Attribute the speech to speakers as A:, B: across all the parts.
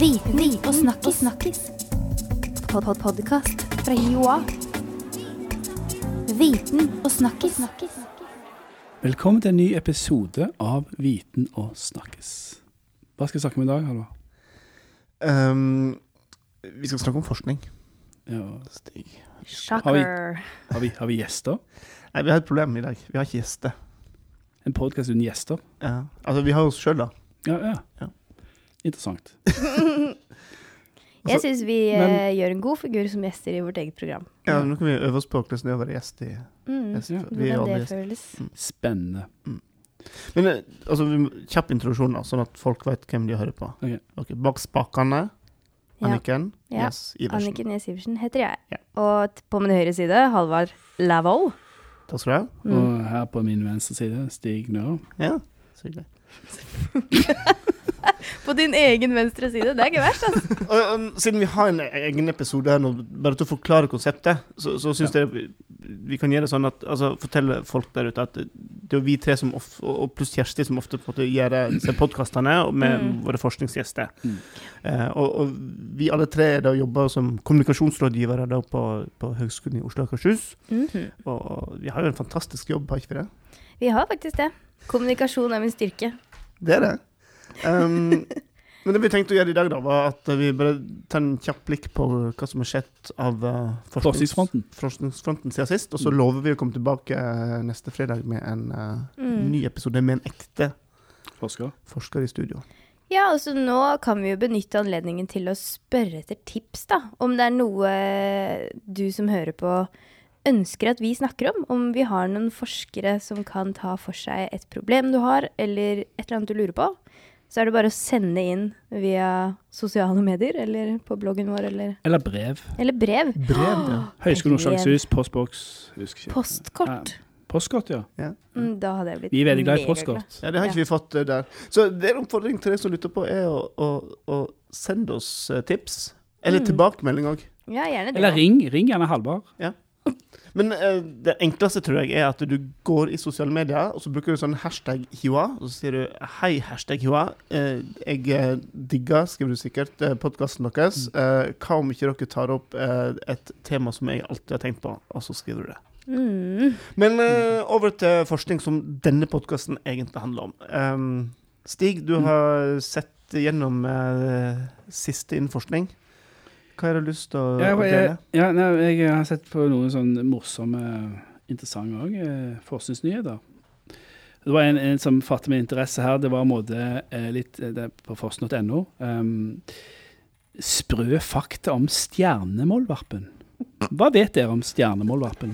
A: Viten og Snakkis. snakkis. Pod-pod-podkast fra Joa. Viten og Snakkis.
B: Velkommen til en ny episode av Viten og snakkes. Hva skal vi snakke om i dag, Halvor?
C: Ehm, vi skal snakke om forskning.
B: Ja.
A: Shocker.
B: Har, vi, har vi gjester?
C: Nei, vi har et problem i dag. Vi har ikke gjester.
B: En podkast uten gjester?
C: Ja. Altså, vi har oss sjøl, da.
B: Ja, ja.
C: Ja.
B: Interessant.
D: Jeg syns vi eh, gjør en god figur som gjester i vårt eget program.
C: Ja, nå kan vi øve oss på hvordan det er å være gjest i
D: Mm.
C: gjest.
B: Ja.
C: Vi er
D: Hvordan
C: aldri
D: det
C: gjest.
D: føles.
B: Spennende.
C: Men eh, altså, vi må- kjapp introduksjon, da, sånn at folk vet hvem de hører på.
B: Ok.
C: Ok, Bak spakene
D: Ja.
C: Anniken
D: Ja.
C: Yes Iversen.
D: Anniken Næss Iversen heter jeg.
C: Ja.
D: Og t- på min høyre side Halvard Lavoll.
C: Takk skal du ha.
D: Mm.
B: Og her på min venstre side, Stig Nørum.
C: Ja. Så hyggelig.
D: På din egen venstre side. Det er ikke verst, altså.
C: Og, um, siden vi har en egen episode her nå, bare til å forklare konseptet, så, så syns jeg vi- vi kan gjøre det sånn at altså, fortelle folk der ute at det er jo vi tre som of, og pluss Kjersti som ofte på en måte gjør disse podkastene med
D: Mm.
C: våre forskningsgjester.
B: Mm.
C: Eh, og, og vi alle tre da jobber som kommunikasjonsrådgivere da på, på Høgskolen i Oslo og Akershus.
D: Mhm.
C: Og, og vi har jo en fantastisk jobb, har ikke vi det?
D: Vi har faktisk det. Kommunikasjon er min styrke.
C: Det er det. Um, men det vi tenkte å gjøre i dag, da, var at vi bare tar en kjapp blikk på hva som har skjedd av eh, forsknings-
B: Forskningsfronten.
C: forskningsfronten siden sist. Og så lover vi å komme tilbake eh, neste fredag med en eh,
D: Mm.
C: ny episode med en ekte
B: Forsker.
C: forsker i studio.
D: Ja, og så nå kan vi jo benytte anledningen til å spørre etter tips, da. Om det er noe eh, du som hører på ønsker at vi snakker om. Om vi har noen forskere som kan ta for seg et problem du har, eller et eller annet du lurer på. Så er det bare å sende inn via sosiale medier, eller på bloggen vår, eller,
B: Eller brev.
D: eller brev.
C: Brev, ja.
B: Høgskolen Oslo Akershus, postboks husker ikke.
D: Postkort.
B: Postkort, ja.
D: Mm, Da hadde jeg blitt
B: Vi er veldig glad i
D: megaglad.
B: postkort.
C: Ja, det har ikke vi fått eh, der. Så det er en oppfordring til deg som lytter på, er å, å, å sende oss eh, tips. Eller
D: Mm.
C: tilbakemelding òg.
D: Ja, gjerne det.
B: Eller ring. Ring gjerne Halvard.
C: Men eh, det enkleste tror jeg er at du går i sosiale medier, og så bruker du sånn hashtag hiwa, og så sier du 'hei, hashtag hiwa'. Eh, jeg eh, digger, skriver du sikkert, eh, podkasten deres.
B: Mm.
C: Eh, hva om ikke dere tar opp eh, et tema som jeg alltid har tenkt på, og så skriver du det.
D: Mm.
C: Men eh, over til forskning som denne podkasten egentlig handler om. Ehm, Stig,
B: Mm.
C: du har sett gjennom eh, siste innen forskning. Hva har du lyst til å
B: Ja,
C: å
B: jeg, jeg,
C: dele?
B: ja, nei, jeg har sett på noen sånne morsomme, interessante også, eh, forskningsnyheter. Det var en, en som fattet min interesse her. Det var en måte eh, litt eh, det er på forskning.no. Um, sprø fakta om stjernemålvarpen. Hva vet dere om stjernemålvarpen?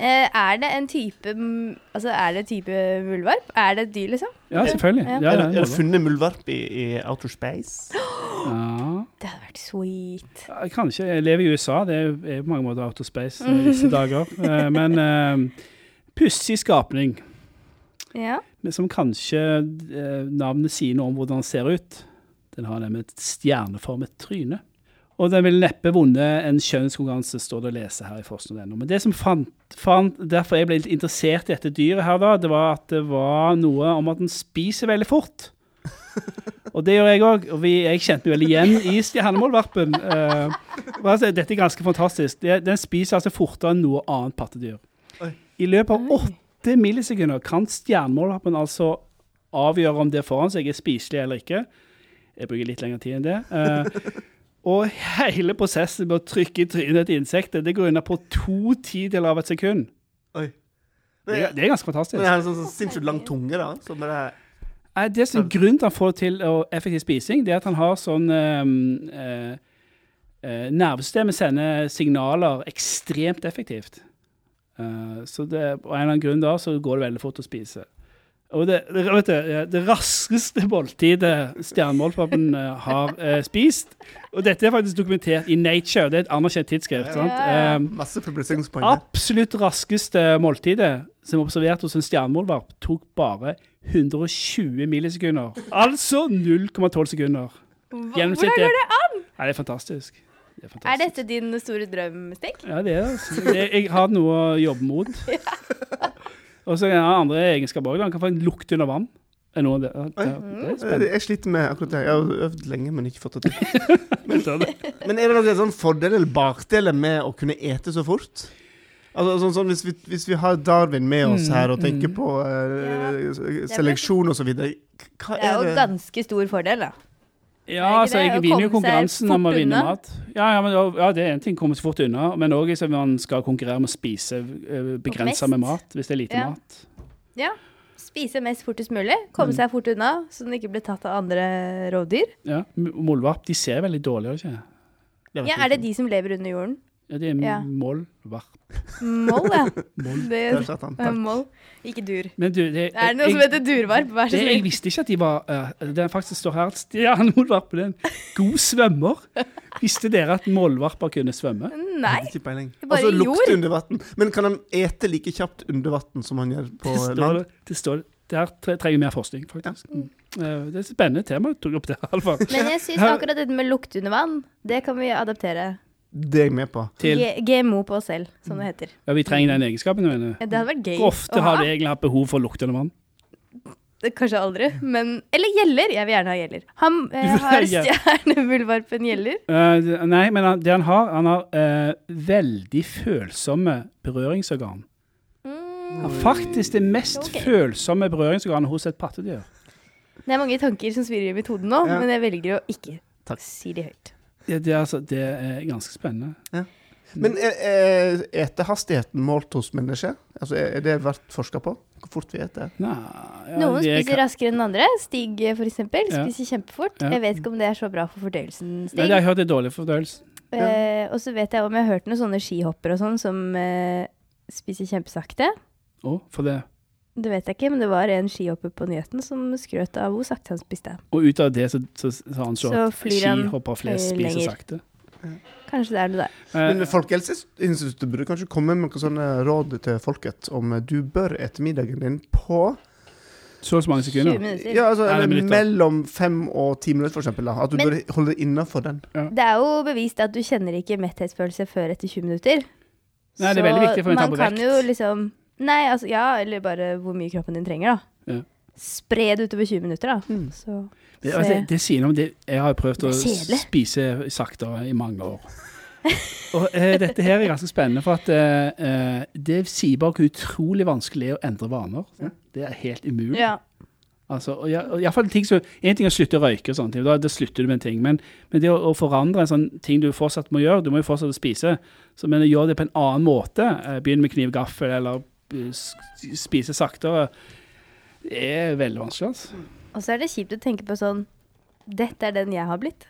D: Eh, er det en type mm, Altså, er det type muldvarp? Er det et dyr, liksom?
B: Ja, selvfølgelig.
D: Ja.
B: Ja,
C: er,
B: ja,
C: det- er det funnet muldvarp i, i outer space?
B: ja.
D: Det hadde vært sweet.
B: Ja, Kanskje. Jeg lever i USA, det er jo- er på mange måter out of space eh, disse dager. Eh, Men eh, pussig skapning.
D: Ja.
B: men som kanskje eh, navnet sier noe om hvordan den ser ut. Den har nemlig et stjerneformet tryne. Og den ville neppe vunnet en skjønnskonkurranse, står det å lese her i forskning.no. Men det som fant, fant, derfor jeg ble litt interessert i dette dyret her, da, det var at det var noe om at den spiser veldig fort. Og det gjør jeg òg. Og vi, jeg kjente meg veldig igjen i stjernemålvarpen. Eh, og altså, dette er ganske fantastisk. Det- Den spiser altså fortere enn noe annet pattedyr.
C: Oi.
B: I løpet av
D: Oi.
B: åtte millisekunder kan stjernemålvarpen altså avgjøre om det foran seg er spiselig eller ikke. Jeg bruker litt lengre tid enn det. Eh, og hele prosessen med å trykke i trynet til insektet det går unna på to tideler av et sekund.
C: Oi.
B: Det, er- det er ganske fantastisk.
C: Men jeg har en sånn, sånn sinnssykt lang tunge, da. Som bare
B: Nei, det som er grunnen til at han får til å effektiv spising, det er at han har sånn ehm, eh, eh, Nervesystemet sender signaler ekstremt effektivt. Eh, så det, av en eller annen grunn da, så går det veldig fort å spise. Og det, det, vet du, eh, det raskeste måltidet stjernemålpappen eh, har eh, spist Og dette er faktisk dokumentert i Nature, det er et anerkjent tidsskrift. sant?
D: Ja, ja.
B: Ehm,
C: Masse publiseringspoeng. der.
B: absolutt raskeste måltidet som er observert hos en stjernemålvarp, tok bare 120 millisekunder. Altså 0,12 sekunder.
D: Hvordan
B: Gjennomsnittet-
D: går det an?
B: Nei, det er fantastisk. Det er
D: Er
B: fantastisk.
D: dette din store drøm, Stig?
B: Ja, det er det. altså. det. Jeg har noe å jobbe mot. Og så har jeg andre egenskaper òg. Han kan få en lukt under vann. Eh, Er noe av det, ja, det, det er spennende.
C: Jeg sliter med akkurat det. Jeg har øvd lenge, men ikke fått det til.
B: Vent, da, det-
C: Men er det noen sånn fordeler eller bakdeler med å kunne ete så fort? Altså, sånn, sånn, hvis, vi, hvis vi har Darwin med oss
B: Mm,
C: her og tenker
B: mm.
C: på eh, seleksjon og så videre, hva
D: Det er jo
C: er det
D: ganske stor fordel, da.
B: Ja,
D: Er det ikke
B: altså, jeg
D: det? Å
B: vinner jo
D: komme seg
B: konkurransen
D: fort
B: om å vinne
D: unna?
B: mat. Ja, ja, men, ja det er en ting å komme seg fort unna, men òg hvis man skal konkurrere med å spise eh, begrensa
D: mest.
B: med mat, hvis det er lite
D: Ja.
B: mat.
D: Ja. Spise mest fortest mulig, komme seg fort unna, så den ikke blir tatt av andre rovdyr.
B: Ja. M- Mollvarp, de ser veldig dårlige ut, ikke
C: vet
D: Ja,
C: jeg
D: er det de som lever under jorden?
B: Ja, de er
D: Ja.
B: mollvarp.
D: Moll, ja.
C: Der
D: Det,
C: satt han.
D: ja,
C: Takk.
D: moll. Ikke dur.
B: Men du, det,
D: Det er noe som
B: jeg,
D: heter durvarp, vær så
B: det, jeg
D: snill.
B: visste ikke at de var eh, Det er faktisk står her at Stian Mollvarp er en god svømmer. Visste dere at målvarper kunne svømme?
D: Nei,
C: Ikke peiling.
D: Det er bare
C: Altså lukt
D: jord.
C: under vann. Men kan han ete like kjapt under vann som han gjør på
B: Det står,
C: land?
B: det står, der tre- trenger vi mer forskning, faktisk. Eh, Det er et spennende tema du tok opp der, iallfall.
D: men jeg syns akkurat dette med lukt under vann, det kan vi adaptere.
C: Det er jeg med på.
B: Til,
D: G- GMO på oss selv, som det heter.
B: ja, vi trenger den egenskapen, mener du?
D: Ja, Det hadde vært gøy
B: Hvor ofte
D: å ha.
B: har de egentlig hatt behov for luktende vann?
D: Det- Kanskje aldri, men Eller gjeller! Jeg vil gjerne ha gjeller. Han eh,
B: vil ha
D: har
B: gjeller.
D: stjernemuldvarpen gjeller.
B: Eh, det- nei, men han, det han har, han har eh, veldig følsomme berøringsorgan.
D: Mm.
B: Han har faktisk det mest
D: Ok.
B: følsomme berøringsorganet hos et pattedyr.
D: Det er mange tanker som svirrer i mitt hode nå,
C: Ja.
D: men jeg velger å ikke
C: Takk.
D: si de høyt.
B: Det, det, er, altså, det er ganske spennende.
C: Men er, er etehastigheten målt hos mennesker? Altså, er er det vært forska på? Hvor fort vi eter?
B: Nei, ja,
D: Noen
B: det
D: spiser
B: kan-
D: raskere enn andre. Stig eh, for eksempel,
B: Ja.
D: spiser kjempefort.
B: Ja.
D: Jeg vet ikke om det er så bra for fordøyelsen,
B: Nei,
D: Stig.
B: det har jeg hørt det er dårlig fordøyelse.
D: eh, og så vet jeg om jeg har hørt noen sånne skihopper og sånn som eh, spiser kjempesakte.
B: Å, for det.
D: Det vet jeg ikke, men det var en skihopper på nyheten som skrøt av hvor sakte han spiste.
B: Og ut av det så, så, så anslår
D: Så
B: at
D: flyr han
B: skihopper flest
D: eh,
B: spiser
D: lenger.
B: sakte.
D: Kanskje det er det der.
B: Eh,
C: Men Folkehelseinstituttet burde kanskje komme med noen sånne råd til folket om eh, du bør ete middagen din på
B: så og så mange
D: 20
B: sekunder.
D: minutter.
C: ja, altså,
B: Nei, det er
C: eller
B: minutter.
C: mellom fem og ti minutter, for eksempel. Da. At du
D: Men-
C: bør holde deg innafor den.
D: Det er jo bevist at du kjenner ikke metthetsfølelse før etter 20 minutter.
B: Nei, det er veldig viktig for å ta på
D: man kan
B: vekt.
D: jo liksom Nei, altså ja, eller bare hvor mye kroppen din trenger, da.
B: Ja.
D: Spre det utover 20 minutter, da.
B: Mm.
D: Så
B: Det, altså, det, det sier noe om det. Jeg har prøvd å
D: Det er kjedelig.
B: spise saktere i mange år. Og eh, dette her er ganske spennende, for at eh, eh, det sier bare hvor utrolig vanskelig å endre vaner. sant? Det er helt umulig.
D: Ja.
B: Altså, og ja, og i hvert fall ting som, en ting er å slutte å røyke, og sånne ting, da, da slutter du med en ting. Men, men det å, å forandre en sånn ting du fortsatt må gjøre, du må jo fortsatt spise, så, men å gjøre det på en annen måte, eh, begynne med kniv, gaffel eller eh, s- spise saktere, det er veldig vanskelig. Altså.
D: Og så er det kjipt å tenke på sånn Dette er den jeg har blitt.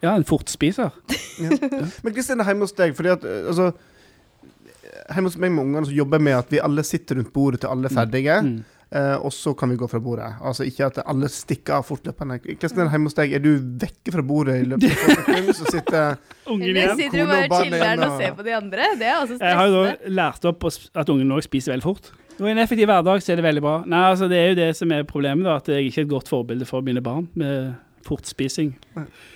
B: Ja, en fortspiser.
C: Men Kristin er hjemme hos deg, fordi at eh, altså Hjemme hos meg med ungene så jobber jeg med at vi alle sitter rundt bordet til alle er ferdige.
B: Mm.
C: eh, og så kan vi gå fra bordet. Altså ikke at alle stikker av fortløpende. Kristin, hjemme hos deg, er du vekke fra bordet i løpet av et sekund? Så sitter
B: Ungen
D: Eller
B: igjen.
D: sitter du
C: Kone
D: bare
C: og barn
D: og chiller
C: igjen,
D: og
C: og-
D: ser på de andre? Det er også
B: Jeg har jo
D: stressende.
B: da lært opp å sp- at ungen òg spiser veldig fort. Og I en effektiv hverdag så er det veldig bra. Nei, altså Det er jo det som er problemet, da, at jeg ikke er et godt forbilde for mine barn med fortspising.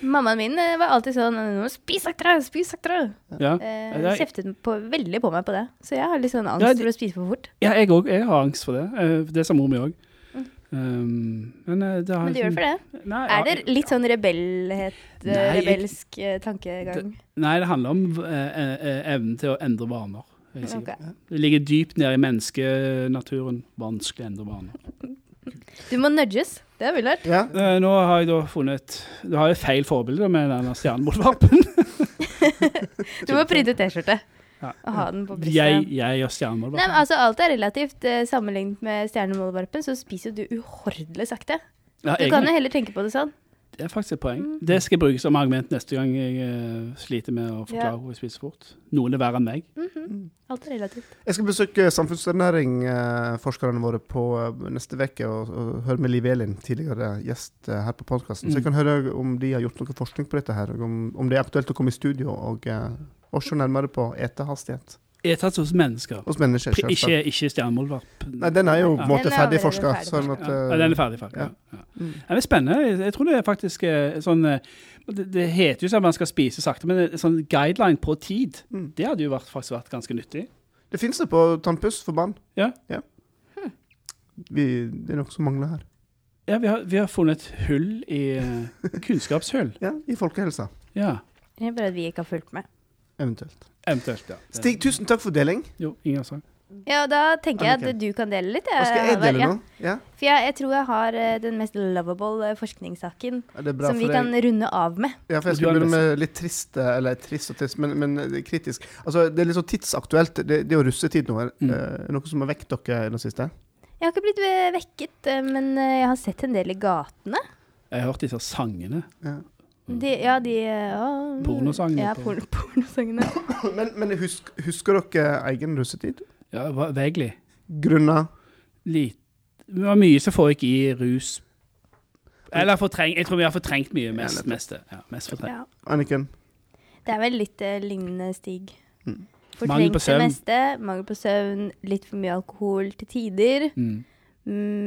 D: Mammaen min eh, var alltid sånn "Nå, Spis saktere! Spis saktere!
B: Ja.
D: Eh,
B: Ja, det er-
D: kjeftet på, veldig på meg på det. Så jeg har litt sånn angst
B: Ja, det-
D: for å spise for fort.
B: Ja, jeg òg. Jeg har angst for det. Eh, Det sa mor mi òg. Um, men eh, det har
D: Mm. Men du gjør det for det.
B: det? Nei,
D: Er det
B: ja,
D: litt sånn rebellhet, eh,
B: Nei, jeg-
D: rebelsk eh, tankegang?
B: nei, det handler om eh, eh, evnen til å endre vaner. er jeg sikker på.
D: Ok.
B: Det ligger dypt nede i menneskenaturen. Vanskelig å endre vaner.
D: Du må nudges. Det har vi lært.
C: og ja.
B: Eh, Nå har jeg da funnet Du har jo feil forbilde da, med denne stjernemotorvarpen.
D: Du må printe T-skjorte
B: Ja.
D: og ha den på
B: Jeg,
D: brystet.
B: jeg og
D: Nei, men
B: stjernemotorvarpen.
D: altså Alt er relativt. eh, Sammenlignet med stjernemålevarpen så spiser jo du uhordelig sakte.
B: Ja,
D: Du kan jo heller tenke på det sånn.
B: Det er faktisk et poeng. Det skal jeg bruke som argument neste gang jeg eh, sliter med å forklare
D: Ja.
B: hvorfor jeg spiser fort. Noen er verre enn meg.
D: Mhm. Alt er relativt.
C: Jeg skal besøke samfunnsernæringforskerne våre på eh, neste uke og, og høre med Liv Elin, tidligere gjest eh, her på podkasten. Så jeg kan høre om de har gjort noe forskning på dette, her, og om, om det er aktuelt å komme i studio og, eh, og se nærmere på etehastighet
B: Jeg er tatt hos mennesker.
C: hos mennesker.
B: Pri-
C: Selvsagt.
B: Ikke, ikke stjernemolvarp.
C: Nei, den er jo på en
B: Ja.
C: måte
D: Den er
C: ferdig
D: allerede
C: forska.
D: ferdig
C: Sånn at
B: Ja,
C: eh, mm.
B: den er ferdig, ferdig. Ja.
C: ja.
B: Ja. Ja, det er spennende. Jeg- Jeg tror det er faktisk eh, sånn eh, Det, det heter jo sånn at man skal spise sakte, men en sånn guideline på tid,
C: Mm.
B: det hadde jo vært, faktisk vært ganske nyttig.
C: Det fins det på tannpuss for barn.
D: Hm.
B: Ja.
C: Vi, det er noe som mangler her.
B: Ja, vi har, vi har funnet et hull i eh, kunnskapshull.
C: Ja, I folkehelsa,
B: Ja,
D: Det er bare at vi ikke har fulgt med.
C: eventuelt.
B: eventuelt. Ja. Det-
C: Stig, tusen takk for deling.
B: Jo, ingen sang.
D: Ja, da tenker jeg
C: Anniken.
D: at du kan dele litt.
C: Hva skal jeg
D: Håvard.
C: dele
D: Eh, Ja.
C: nå? Ja,
D: For jeg, jeg tror jeg har eh, den mest lovable eh, forskningssaken
C: er det bra
D: som vi
C: for
D: kan
C: deg?
D: runde av med.
C: Ja, for jeg
B: Du er
C: skulle begynne med litt trist, eh, eller trist og trist, men, men eh, kritisk. Altså, det er litt sånn tidsaktuelt. Det, det er jo russetid nå. Mm. Noe som har vekt dere i det siste?
D: Jeg har ikke blitt eh, vekket, eh, men eh, jeg har sett en del i gatene.
B: Jeg har hørt disse sangene.
C: Ja.
D: De, ja, de eh, å,
B: Pornosangene
D: Ja,
B: på-
D: por pornosangene.
C: Men, men husk, husker dere egen russetid?
B: Ja, va- Vegli.
C: Grunna
B: Litt. Det var mye som foregikk i rus. Eller fortreng, jeg tror vi har fortrengt mye. Mest, mest, det. ja, mest fortrengt.
D: Ja.
C: Anniken.
D: Det er vel litt eh, lignende stig.
C: Mm.
B: Mangel på
D: Fortrengt det
B: søvn.
D: meste. Mangel på søvn, litt for mye alkohol til tider.
B: Mm.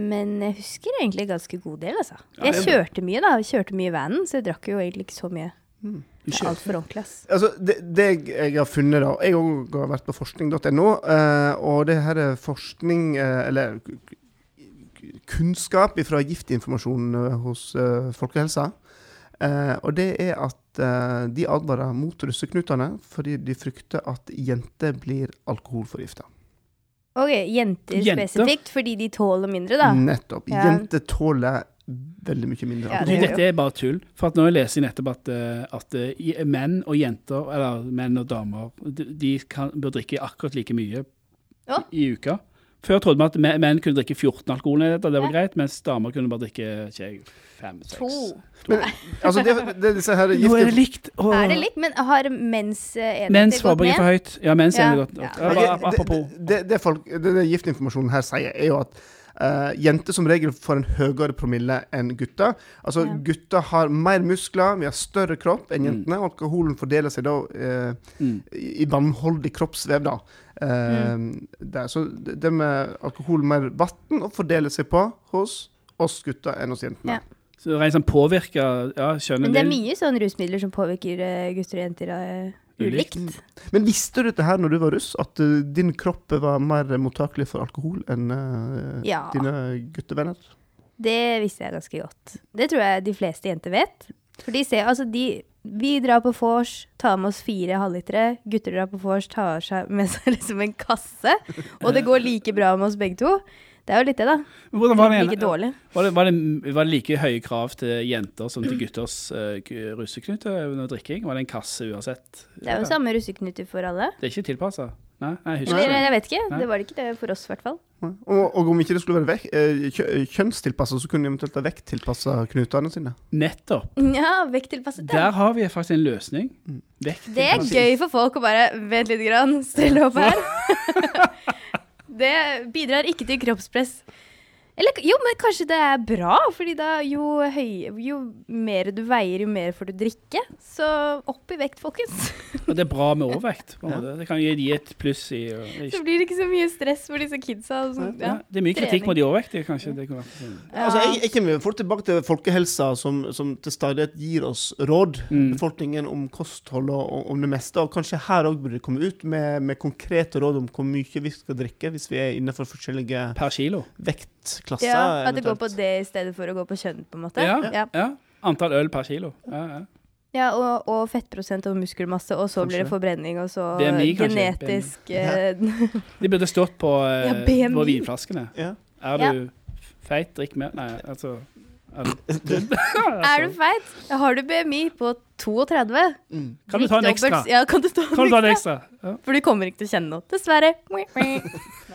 D: Men jeg husker egentlig ganske god del, altså.
B: Ja,
D: jeg
B: det er
D: kjørte mye, da. Jeg kjørte mye i vanen, så jeg drakk jo egentlig ikke så mye. Det er altfor ordentlig, ass.
C: Altså, det, det jeg- jeg har funnet, da Jeg òg har vært på forskning.no, eh, og det her er forskning eh, Eller k- k- kunnskap fra giftinformasjon eh, hos eh, Folkehelsa. Eh, og det er at eh, de advarer mot russeknutene fordi de frykter at jenter blir alkoholforgifta.
D: Ok, jenter,
B: Jenter.
D: spesifikt, fordi de tåler mindre, da.
C: Nettopp.
D: Ja.
C: Jenter tåler veldig mye mindre
D: Ja,
C: alkohol.
B: Du,
D: det-
B: dette er bare tull. For at nå leser jeg nettopp at, eh, at eh, i- menn og jenter, eller menn og damer, de de kan, bør drikke akkurat like mye
D: Ja.
B: i, i uka. Før trodde vi at me- menn kunne drikke 14 alkoholenheter, det var
D: Ja.
B: greit, mens damer kunne bare drikke ikke jeg, fem, seks.
D: To.
C: Altså, det, det, er disse her
B: Nå er det
C: giftin-
B: likt! Åh.
D: Er det litt? Men har mens eh, enheter
B: Mens
D: gått
B: forbruket er
D: ned?
B: for høyt. Ja, mens
D: Ja.
B: er det godt.
D: Ja.
B: Ja, bare
C: Ok,
B: apropos.
C: Det, det, det, folk, det, det giftinformasjonen her sier, er jo at eh, jenter som regel får en høyere promille enn gutter. Altså,
D: Ja.
C: gutter har mer muskler, vi har større kropp enn jentene. og Alkoholen fordeler seg da eh,
B: Mm.
C: i i vannholdig kroppsvev, da. Eh,
D: Mm.
C: der. Så det, det med alkohol mer vann og fordeler seg på hos oss gutter enn hos jentene.
D: Ja.
B: Så rent sånn påvirka Ja, skjønner
D: Men det er mye sånn rusmidler som påvirker eh, gutter og jenter eh,
B: Ulikt.
D: ulikt.
C: Men visste du dette her når du var russ, at eh, din kropp var mer mottakelig for alkohol enn eh,
D: Ja.
C: dine guttevenner?
D: Det visste jeg ganske godt. Det tror jeg de fleste jenter vet. For de ser, altså de Vi drar på vors, tar med oss fire halvlitere. Gutter drar på vors, tar seg med seg liksom en kasse. Og det går like bra med oss begge to. Det er jo litt det, da.
B: Men Hvordan var det,
D: Like
B: igjen?
D: dårlig.
B: var, det, var, det, var det like høye krav til jenter som til gutters uh, russeknute under drikking? Var det en kasse uansett?
D: Det er jo samme russeknuter for alle.
B: Det er ikke tilpassa? Nei, nei, jeg husker
D: Eller
B: ikke.
D: jeg vet ikke.
B: Nei.
D: Det var det ikke det for oss, i hvert fall.
C: Og, og om ikke det skulle være vek, eh, kjø- kjønnstilpassa, så kunne de eventuelt ha vekttilpassa knutene sine.
B: Nettopp.
D: Ja, vekttilpasset. ja.
B: Der har vi faktisk en løsning. Vekk
D: Det er gøy for folk å bare Vent litt, grann, stille opp her. det bidrar ikke til kroppspress. Eller jo, men kanskje det er bra, fordi da jo, høy, jo mer du veier, jo mer får du drikke. Så opp i vekt, folkens.
B: Og det er bra med overvekt. på en måte. Det kan gi gi et pluss i og-
D: Så blir det ikke så mye stress for disse kidsa. Og sånt.
B: ja,
D: Ja.
B: Det er mye kritikk mot de overvektige, kanskje. Det kunne vært
C: Altså, jeg, jeg kommer fort tilbake til folkehelsa, som, som til stadighet gir oss råd,
B: Mm.
C: befolkningen, om kosthold og, og om det meste. Og kanskje her òg burde det komme ut med, med konkrete råd om hvor mye vi skal drikke hvis vi er innenfor forskjellige
B: per kilo.
C: vektklasser.
D: ja, At det går på
C: eventuelt.
D: det i stedet for å gå på kjønn, på en måte.
B: Ja,
D: ja.
B: ja. Antall øl per kilo. Ja, ja.
D: Ja, og, og fettprosent og muskelmasse, og så blir det
C: Kanskje.
D: forbrenning, og så
B: BMI, kanskje.
D: genetisk eh,
B: De burde stått på, eh,
D: Ja, BMI.
B: på vinflaskene.
C: Ja.
B: Er
D: Ja.
B: du feit, drikk mer. Nei, altså er du,
D: Er du feit? Har du BMI på 32?
C: Mm.
B: Kan du ta en
D: Drikk
B: ekstra?
D: dobbelt- Ja, kan du ta en
B: Kan du ta
D: ekstra?
B: en ekstra? Ja.
D: For du kommer ikke til å kjenne noe. Dessverre.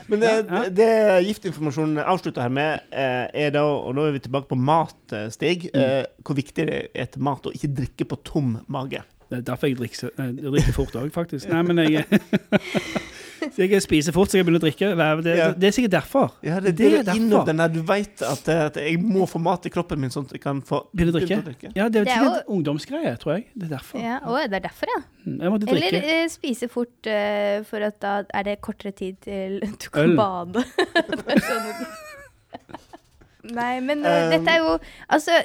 C: Men det,
B: Ja, ja.
C: det giftinformasjonen avslutter her med, eh, er da, og nå er vi tilbake på mat, eh, Stig,
B: Mm.
C: eh, hvor viktig det er til mat, og ikke drikke på tom mage.
B: Det er derfor jeg drikker, så- nei, jeg drikker fort òg, faktisk. Nei, men jeg Så jeg spiser fort, så jeg begynner å drikke. Nei, Det,
C: Ja.
B: det, er sikkert derfor.
C: Ja, det,
B: Det er
C: det, er innom
B: derfor.
C: den der du vet at, eh, at jeg må få mat i kroppen min, sånn at jeg kan få
B: Begynner å drikke. Ja, det er,
D: Det er
B: jo en ungdomsgreie, tror jeg. Det er derfor.
D: Ja, å, det er derfor, ja.
B: Mm, Jeg måtte
D: Eller
B: drikke.
D: eh, spise fort, eh, for at da er det kortere tid til du kan
B: Øl.
D: bade. Det er sånn- Nei, men eh,
C: Um.
D: dette er jo Altså,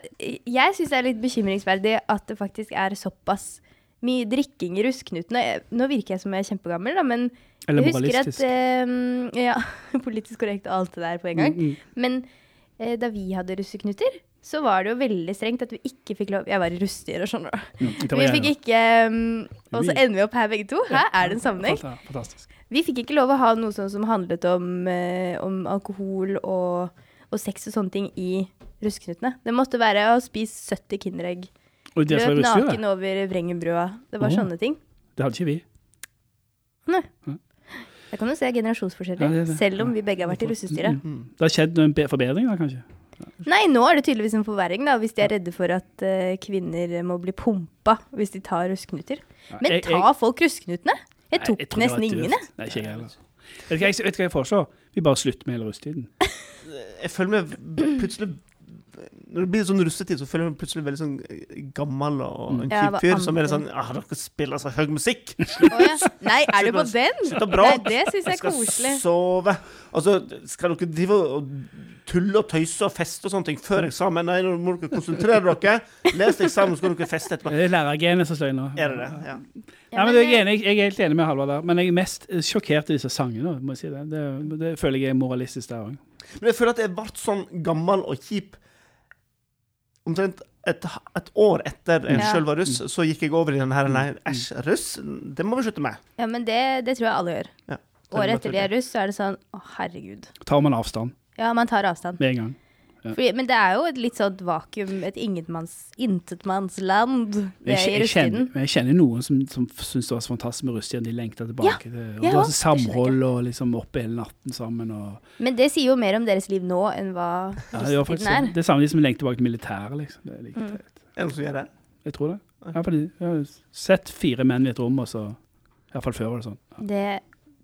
D: jeg syns det er litt bekymringsverdig at det faktisk er såpass mye drikking i russeknutene. Nå virker jeg som jeg er kjempegammel, da, men
B: Eller
D: jeg husker
B: moralistisk.
D: at eh, Ja, politisk korrekt og alt det der på en gang.
B: Mm, mm.
D: Men eh, da vi hadde russeknuter, så var det jo veldig strengt at vi ikke fikk lov Jeg var i russestyret, skjønner du.
B: mm,
D: Vi fikk ikke um, Og så ender vi opp her begge to. Hæ, er det en sammenheng?
B: Fantastisk.
D: Vi fikk ikke lov å ha noe sånn som handlet om, eh, om alkohol og, og sex og sånne ting i russeknutene. Det måtte være å spise 70 Kinderegg.
B: Og det som er
D: Løp
B: russestyret?
D: naken over Vrengenbrua. Det var
B: Åh.
D: sånne ting.
B: Det hadde ikke vi.
D: Nei.
B: Nei.
D: Jeg kan jo se
B: Ja,
D: generasjonsforskjeller,
B: det er det.
D: selv om vi begge har vært i russestyret.
B: Mm,
C: Mm.
B: Det har skjedd en be- forbedring, da, kanskje?
D: Nei, nå er det tydeligvis en forverring, da, hvis de er redde for at eh, kvinner må bli pumpa hvis de tar russeknuter. Men
B: jeg-
D: ta folk russeknutene! Jeg
B: Nei,
D: tok
B: tror det var
D: nesten
B: døvt.
D: ingen, jeg.
B: Nei, ikke jeg heller. Vet du hva jeg, vet du hva jeg foreslår? Vi bare slutter med hele russetiden.
C: Jeg føler meg v- plutselig Når det blir sånn russetid, så føler jeg meg plutselig veldig sånn eh, gammel
B: Mm.
C: og en
D: Ja,
C: kjip
D: hva
C: fyr som er litt
D: annet?
C: sånn ah, 'Dere spiller så høy musikk!
D: Å, ja. Nei, er du på den?
C: Slutt å
D: Nei,
C: bråke!
D: det syns jeg
C: Jeg
D: er
C: skal
D: koselig.
C: sove! Altså, skal dere drive og tulle og tøyse og feste og sånne ting før eksamen? Nei, nå må dere konsentrere dere. Les eksamen, så skal dere feste etterpå.
B: Det er lærergenet som slår inn nå.
C: Er det det? Ja.
B: Nei, men
D: eh,
B: jeg, er enig, jeg er helt enig med Halvard der, men jeg er mest sjokkert i disse sangene. må jeg si Det Det, det føler jeg er moralistisk der òg.
C: Men jeg føler at jeg ble sånn gammel og kjip omtrent et, et år etter jeg
D: Ja.
C: selv var russ, så gikk jeg over i den her Nei, æsj, russ, det må vi slutte med.
D: Ja, men det, det tror jeg alle gjør.
C: Ja.
D: Året etter de er russ, så er det sånn å herregud.
B: Tar man avstand
D: Ja, man tar avstand.
B: med en gang.
D: Fordi, men det er jo et litt sånt vakuum, et ingenmanns, intetmannsland,
B: Jeg,
D: det er i
B: jeg, kjenner,
D: russetiden.
B: men jeg kjenner noen som, som syns det var så fantastisk med russetiden. De lengta tilbake. til, og
D: jeg
B: det var
D: også.
B: så samhold og liksom oppe hele natten sammen. Og,
D: Men det sier jo mer om deres liv nå enn hva
B: ja, det, var faktisk,
D: russetiden er. Mm.
B: det er samme de som lengter tilbake til militæret. Liksom. Det er like teit.
C: Er det noen som gjør det?
B: Jeg tror det. Jeg har, faktisk- jeg har sett fire menn i et rom, og så Iallfall før var det sånn.
D: Det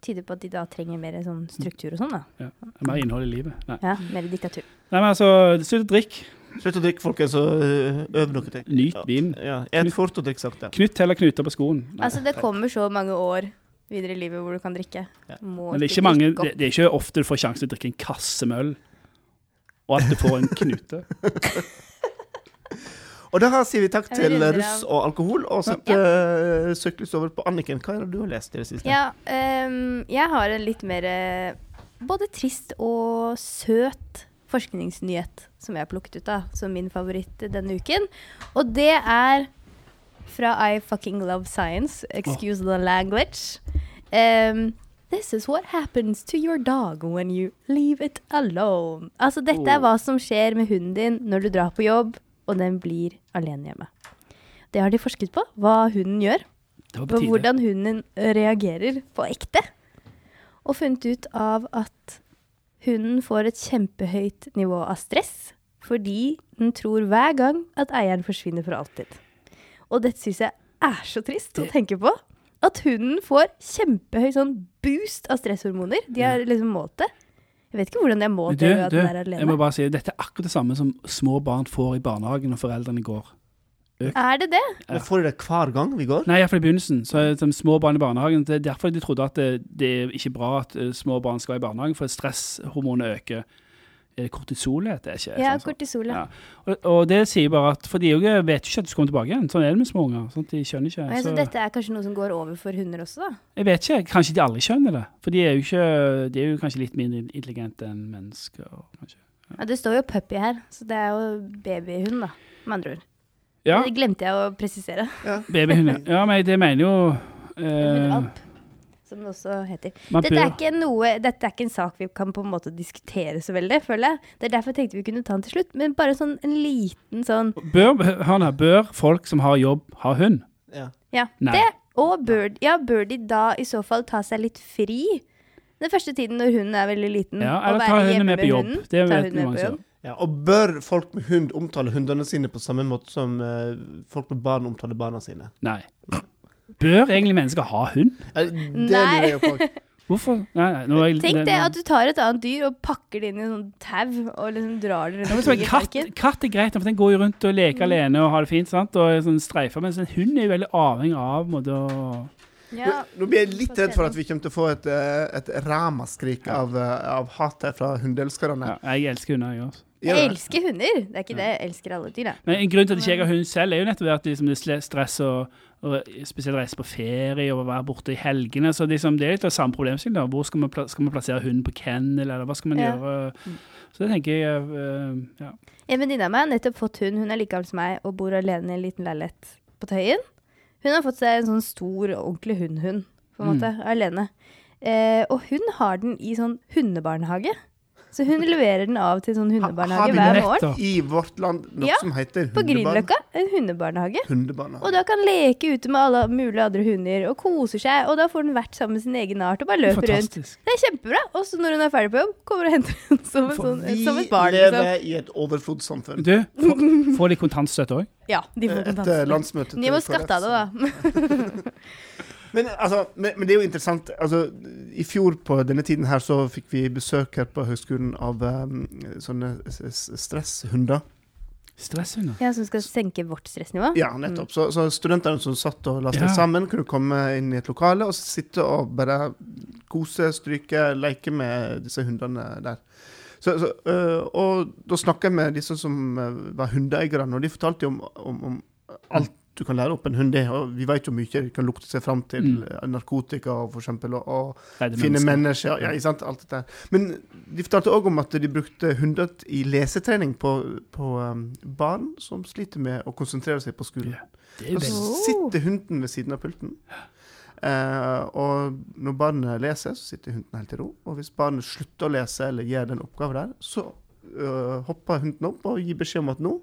D: tyder på at de da trenger mer sånn struktur og sånn, da.
B: Mer innhold i livet. Nei,
D: Ja, mer diktatur.
B: Nei men altså, slutt å drikke.
C: Slutt å drikke, folkens, og øh, øv dere til.
B: Nyt vinen.
C: Ja, Et fort og drikk sakte.
B: Knytt heller knuter på skoen. Nei.
D: Altså, det kommer så mange år videre i livet hvor du kan drikke.
C: Ja.
D: Må
B: Men det er
D: ikke
B: ikke, mange,
D: drikke
B: det,
D: opp.
B: det er ikke ofte du får sjansen til å drikke en kasse med øl, og at du får en knute.
C: Og da sier vi takk
D: Jeg
C: til
D: vil runde
C: russ
D: av.
C: og alkohol, og setter øh, søkelyset over på Anniken. Hva er det du har lest i det siste?
D: Ja, ehm, jeg har en litt mer eh, både trist og søt forskningsnyhet som jeg har plukket ut av som min favoritt denne uken. Og det er fra I fucking love science. Excuse the language. Ehm, this is what happens to your dog when you leave it alone. Altså, dette er
B: Oh.
D: hva som skjer med hunden din når du drar på jobb, og den blir alene hjemme. Det har de forsket på, hva hunden gjør
B: Det var på
D: på
B: tide.
D: hvordan hunden reagerer på ekte. Og funnet ut av at hunden får et kjempehøyt nivå av stress fordi den tror hver gang at eieren forsvinner for alltid. Og dette syns jeg er så trist å tenke på. At hunden får kjempehøy sånn boost av stresshormoner. De har liksom målt det. Jeg vet ikke hvordan de har
B: Men
D: målt
B: Du,
D: det. at
B: du,
D: den er
B: jeg må
D: alene.
B: bare si, dette er akkurat det samme som små barn får i barnehagen når foreldrene går.
D: Er det det?
C: Nå får du det hver gang vi går.
B: Nei, iallfall i begynnelsen. Så er det som små barn i barnehagen, Det er derfor de trodde at det, det er ikke bra at eh, små barn skal i barnehagen, for stresshormonet øker. Er det Kortisol heter det ikke?
D: Ja,
B: Sånn som-
D: kortisol.
B: Ja. Og, og det sier bare at For de jo ikke- vet jo ikke at du skal komme tilbake igjen. Sånn er det med små unger. Sånn, at de skjønner ikke.
D: Og jeg
B: Så-
D: synes dette er kanskje noe som går over for hunder også, da.
B: Jeg vet ikke. Kanskje de aldri skjønner det. For de er jo, ikke, de er jo kanskje litt mindre intelligente enn mennesker. Kanskje.
D: Ja, det står jo puppy her, så det er jo babyhund, da. Med andre ord.
B: Ja,
D: Det glemte jeg å presisere.
B: babyhunder. Ja, men det mener jo eh,
D: Hundevalp, som det også heter.
B: man
D: Dette er,
B: bør,
D: ikke noe, dette er ikke en sak vi kan på en måte diskutere så veldig, føler jeg. Det er derfor jeg tenkte vi kunne ta den til slutt, men bare sånn en liten sånn
B: bør, hør nå, bør folk som har jobb, ha hund?
C: Ja.
D: Ja,
B: Nei.
D: det. Og bør, ja, bør de da i så fall ta seg litt fri? Den første tiden når hunden er veldig liten.
B: Ja,
D: og
B: eller
D: være
B: ta
D: hjemme
B: hunden med på jobb.
D: hunden.
B: Det
D: Ta
B: vet
D: hunden
B: vi
D: med
B: mange
D: på
B: som
D: jobb.
C: Ja, og bør folk med hund omtale hundene sine på samme måte som eh, folk med barn omtaler barna sine?
B: Nei. Bør egentlig mennesker ha hund?
C: Eh, Det
D: Nei.
C: lurer jeg på.
B: Hvorfor? Nei, nei, nå er jeg,
D: Tenk det at du tar et annet dyr og pakker det inn i en sånn tau og liksom drar det Mm.
B: Ja, men
D: rundt
B: så
D: i
B: er katt,
D: parken.
B: katt er greit, for den går jo rundt og leker alene og har det fint. sant? Og er sånn streifer, Mens en hund er jo veldig avhengig av måte, å
D: Ja.
C: Nå blir jeg litt redd for at vi kommer til å få et, eh, et ramaskrik av, eh, av hat her fra hundeelskerne.
B: ja, Jeg elsker hunder, jeg også.
D: Jeg elsker hunder. Det er ikke det. Jeg elsker alle dyr, jeg.
B: Men en grunn til at ikke jeg har hund selv, er jo nettopp det at liksom, det er stress og, og spesielt reise på ferie og være borte i helgene. Så liksom, det er litt av samme problemstilling. da. Hvor skal man, pla skal man plassere hunden på kennel, eller hva skal man
D: Ja.
B: gjøre? Så det tenker jeg eh, ja.
D: En venninne av meg har nettopp fått hund. Hun er like gammel som meg og bor alene i en liten leilighet på Tøyen. Hun har fått seg en sånn stor, ordentlig hundhund, på
C: Mm.
D: en måte, alene. Eh, og hun har den i sånn hundebarnehage. Så hun leverer den av til sånn
C: har
D: hundebarnehage
C: vi
D: hver
C: det?
D: morgen.
B: Nettopp.
C: I vårt land noe
D: Ja,
C: som heter
D: På
C: hundebarn-
D: Grünerløkka. En hundebarnehage.
C: hundebarnehage.
D: Og da kan leke ute med alle mulige andre hunder og kose seg. Og da får den vært sammen med sin egen art og bare løper rundt.
B: Fantastisk.
D: Det er kjempebra. Og så når hun er ferdig på jobb, kommer og henter den som, en
B: For
D: sånn,
C: Vi
D: som et barn. Liksom.
C: lever i et overflodssamfunn.
B: Du, får, får de kontantstøtte òg?
D: Ja, de får
C: Etter
D: kontantstøtte.
C: landsmøtet til
D: De må
C: KrF,
D: skatte av det,
C: så-
D: da.
C: Men, altså, men, men det er jo interessant. Altså, I fjor på denne tiden her så fikk vi besøk her på høgskolen av um, sånne s- s- stresshunder.
B: Stresshunder.
D: Ja, Som skal senke vårt stressnivå.
C: Ja, nettopp. Så, så studentene som satt og la seg
B: Ja.
C: sammen, kunne komme inn i et lokale og sitte og bare kose, stryke, leke med disse hundene der. Så, så, øh, og da snakka jeg med disse som øh, var hundeeiere, og de fortalte jo om, om, om alt du kan lære opp en hund er. Og vi vet jo mye de kan lukte seg fram til.
B: Mm.
C: eh, Narkotika, og for eksempel. Og, og
B: Redde
C: Finne
B: mennesker.
C: mennesker, ja, ikke sant, alt dette her. Men de fortalte òg om at de brukte hunder i lesetrening på, på um, barn som sliter med å konsentrere seg på skolen.
B: Ja, Det er jo
C: Og
B: veldig-
C: så
D: veldig-
C: sitter hunden ved siden av pulten, eh, og når barnet leser, så sitter hunden helt i ro. Og hvis barnet slutter å lese eller gjør den oppgaven der, så øh, hopper hunden opp og gir beskjed om at nå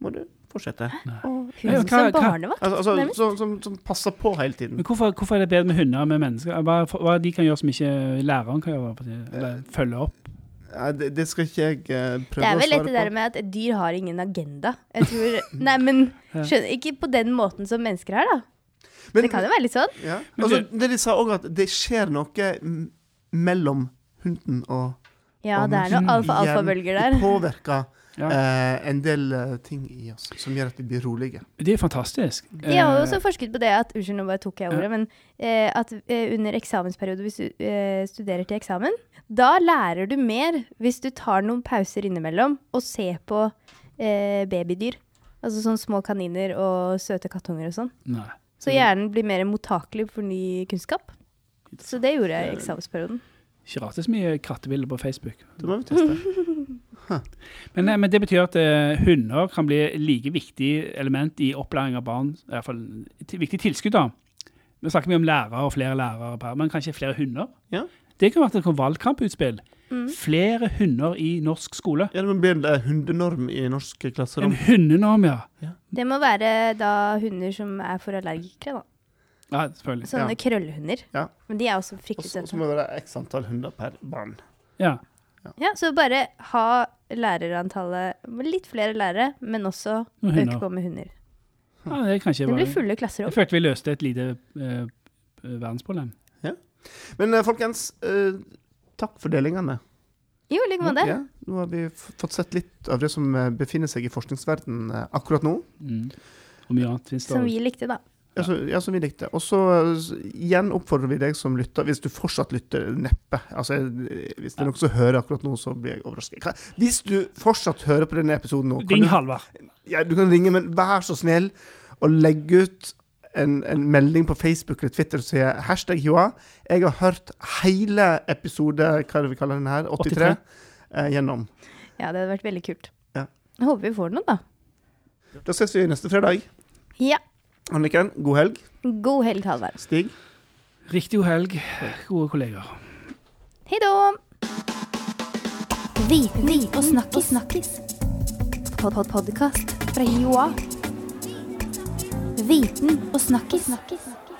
C: må du fortsette.
B: Ja,
D: Hun
B: hva-
D: som
B: hva-
D: barnevakt.
C: Altså, altså,
D: Nærmest.
C: som, som, som passer på hele tiden.
B: Men hvorfor, hvorfor er det bedre med hunder enn med mennesker? Hva, hva de kan gjøre som ikke læreren kan gjøre? på det? Eller følge opp?
C: Nei, det, det skal ikke jeg eh,
D: Det
C: prøve
D: er
C: å
D: vel
C: svare
D: litt det
C: på. Mm.
D: der med at et dyr har ingen agenda. Jeg tror, nei, men skjønner, Ikke på den måten som mennesker har, da.
C: Men-
D: Det kan jo være litt sånn.
C: Ja.
B: Men
C: Altså,
B: du-
C: det de sa òg, at det skjer noe m- mellom hunden og
D: Ja, det er noen alfa-alfa-bølger der.
C: Det påvirker
B: Ja.
C: eh, en del eh, ting i oss som gjør at vi blir rolige.
B: Det er fantastisk.
D: De har jo
B: Eh,
D: også forsket på det at Unnskyld, nå bare tok jeg ordet. Men eh, at eh, under eksamensperiode, hvis du eh, studerer til eksamen, da lærer du mer hvis du tar noen pauser innimellom og ser på eh, babydyr. Altså sånn små kaniner og søte kattunger og sånn.
B: Nei.
D: Så hjernen blir mer mottakelig for ny kunnskap. Så det gjorde jeg i eksamensperioden.
B: Ikke rart det er så mye kattebilder på Facebook.
C: Det må vi teste.
B: Men, eh, men det betyr at eh, hunder kan bli like viktig element i opplæring av barn. i hvert fall et viktig tilskudd, da. Nå snakker vi om lærere og flere lærere, per, men kanskje flere hunder?
C: Ja.
B: Det kan være et valgkamputspill.
D: Mm.
B: Flere hunder i norsk skole.
C: Ja, det må bli en eh, hundenorm i norske
B: En
C: klasserom.
B: hundenorm, ja.
D: Det må være da hunder som er for allergikere, da.
B: Ja, selvfølgelig.
D: Sånne
C: Ja.
D: krøllhunder.
C: Ja.
D: Men de er også
C: Og
D: fryktelig
C: så
D: søte.
C: og så må det være x antall hunder per barn.
B: Ja.
D: Ja, så bare ha lærerantallet Litt flere lærere, men også
B: Og hunder.
D: øke på med hunder.
B: ja det er kanskje
D: Det
B: bare
D: blir fulle
B: Jeg
D: klasserom.
B: følte vi løste et lite eh, verdensproblem.
C: Men eh, folkens, eh, takk for delingene.
D: Jo, i like måte.
C: Ja, nå har vi f- fått sett litt av det som eh, befinner seg i forskningsverdenen eh, akkurat nå.
B: Mm. Og mye annet finnes det
D: Som
B: også.
D: vi likte, da.
C: Ja, så, ja, som vi likte. Og så eh, s- igjen oppfordrer vi deg som lytter, hvis du fortsatt lytter, neppe. Altså, eh, hvis det er noen som hører akkurat nå, så blir jeg overrasket. Kan- Hvis du fortsatt hører på denne episoden nå, kan
B: Ring
C: du,
B: Halvard.
C: ja, du kan ringe, men vær så snill og legge ut en, en melding på Facebook eller Twitter som sier hashtag Joa. Jeg har hørt hele episode, hva er det vi kaller den her, 83,
B: 83.
C: eh, gjennom.
D: Ja, det hadde vært veldig kult.
C: Ja.
D: Jeg håper vi får noe, da.
C: Da ses vi neste fredag.
D: Ja.
C: Anniken, god helg.
D: God helg, Halvard.
C: Stig.
B: Riktig god helg, gode kolleger.
D: Hei da!
A: Viten og snakkis. snakkis. Pod pod podkast fra Joa. Viten og snakkis. snakkis.